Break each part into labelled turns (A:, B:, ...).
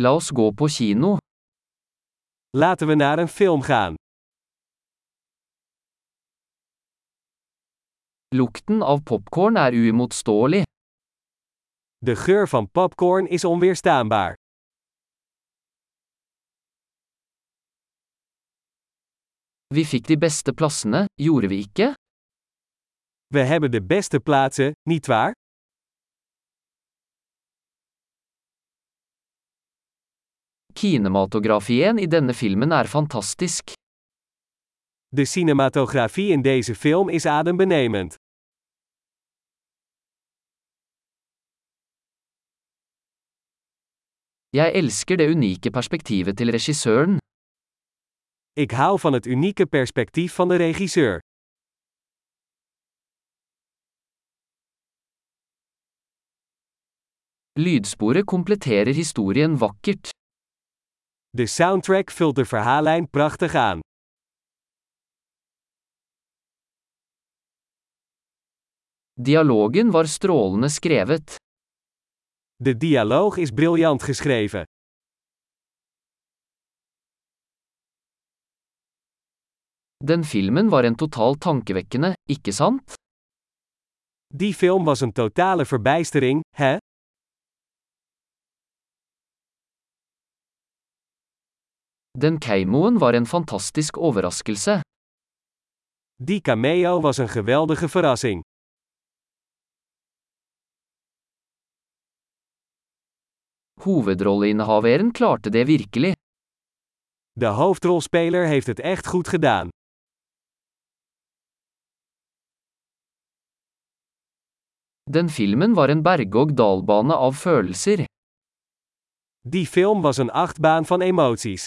A: La oss gå på kino.
B: Laten we naar een film gaan.
A: Lukten av popcorn er uimotståelig.
B: De geur van popcorn is onweerstaanbaar.
A: Vi fikk de beste plassene, gjorde vi ikke?
B: We hebben de beste plaatsen, nietwaar?
A: Kinematografien i denne filmen er fantastisk.
B: De cinematografie in deze film is adembenemend.
A: Jeg elsker det unike perspektivet til regissøren.
B: Ik hou van het unieke perspectief van de regisseur.
A: Lydsporet kompletterer historien vakkert.
B: De soundtrack vult de verhaallijn prachtig aan.
A: Dialogen var strålende skrevet.
B: De dialoog is briljant geschreven.
A: Den filmen var en total tankevekkende, ikke sant?
B: Die film was een totale verbijstering, hè?
A: Den keimoen var en fantastisk overraskelse.
B: Die cameo was een geweldige verrassing.
A: Hovedrolleinnehaveren klarte det virkelig.
B: De hoofdrolspeler heeft het echt goed gedaan.
A: Den filmen var en berg-og-dal-bane av følelser.
B: Die film was een achtbaan van emoties.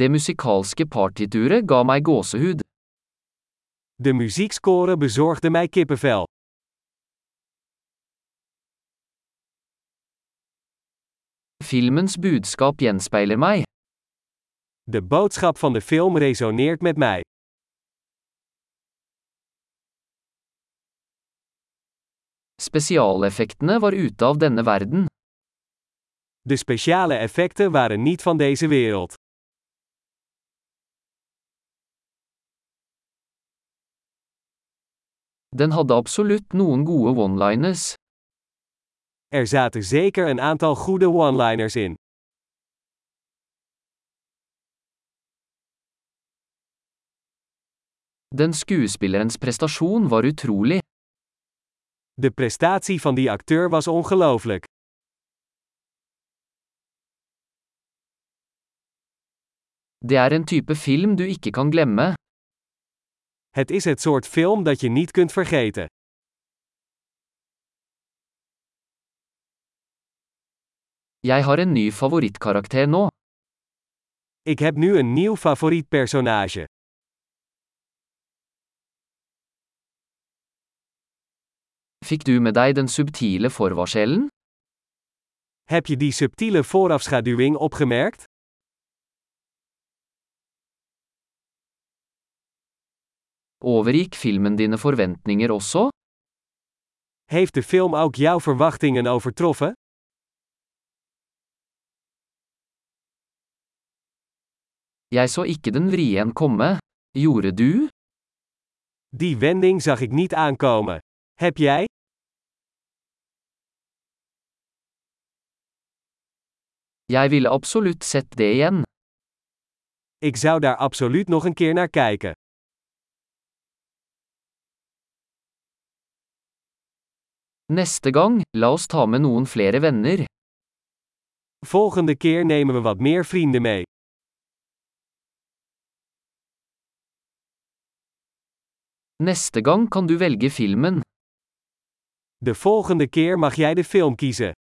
A: Det musikalske partituret ga meg gåsehud.
B: De muziekscore bezorgde mij kippenvel.
A: Filmens budskap gjenspeiler meg.
B: De boodschap van de film resoneert met mij.
A: Spesialeffektene var ute av denne verden.
B: De speciale effecten waren niet van deze wereld.
A: Den hadde absolutt noen gode one-liners.
B: Er zaten zeker een aantal goede one-liners in.
A: Den skuespillerens prestasjon var utrolig.
B: De prestatie van die acteur was ongelooflijk.
A: Det er en type film du ikke kan glemme.
B: Het is het soort film dat je niet kunt vergeten.
A: Jeg har en ny favorittkarakter nå.
B: Ik heb nu een nieuw favoriet personage.
A: Fikk du med deg den subtile forvarselen?
B: Heb je die subtiele voorafschaduwing opgemerkt?
A: Overgikk filmen dine forventninger også?
B: Heeft de film ook jouw verwachtingen overtroffen?
A: Jeg så ikke den vrien komme. Gjorde du?
B: Die wending zag ik niet aankomen. Heb jij?
A: Jeg ville absolutt sett det igjen.
B: Ik zou daar absoluut nog een keer naar kijken.
A: Neste gang, la oss ta med noen flere venner.
B: Volgende keer nemen we wat meer vrienden mee.
A: Neste gang kan du velge filmen.
B: De volgende keer mag jij de film kiezen.